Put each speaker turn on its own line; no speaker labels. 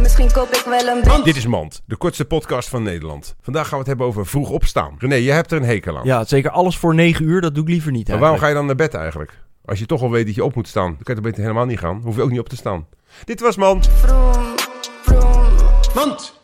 Misschien koop ik wel een beetje.
Dit is Mand, de kortste podcast van Nederland. Vandaag gaan we het hebben over vroeg opstaan. René, jij hebt er een hekel aan.
Ja, zeker alles voor 9 uur, dat doe ik liever niet.
maar waarom ga je dan naar bed eigenlijk? Als je toch al weet dat je op moet staan, dan kan je toch beter helemaal niet gaan. Dan hoef je ook niet op te staan. Dit was Mand.
Vroom, vroom.
Mand!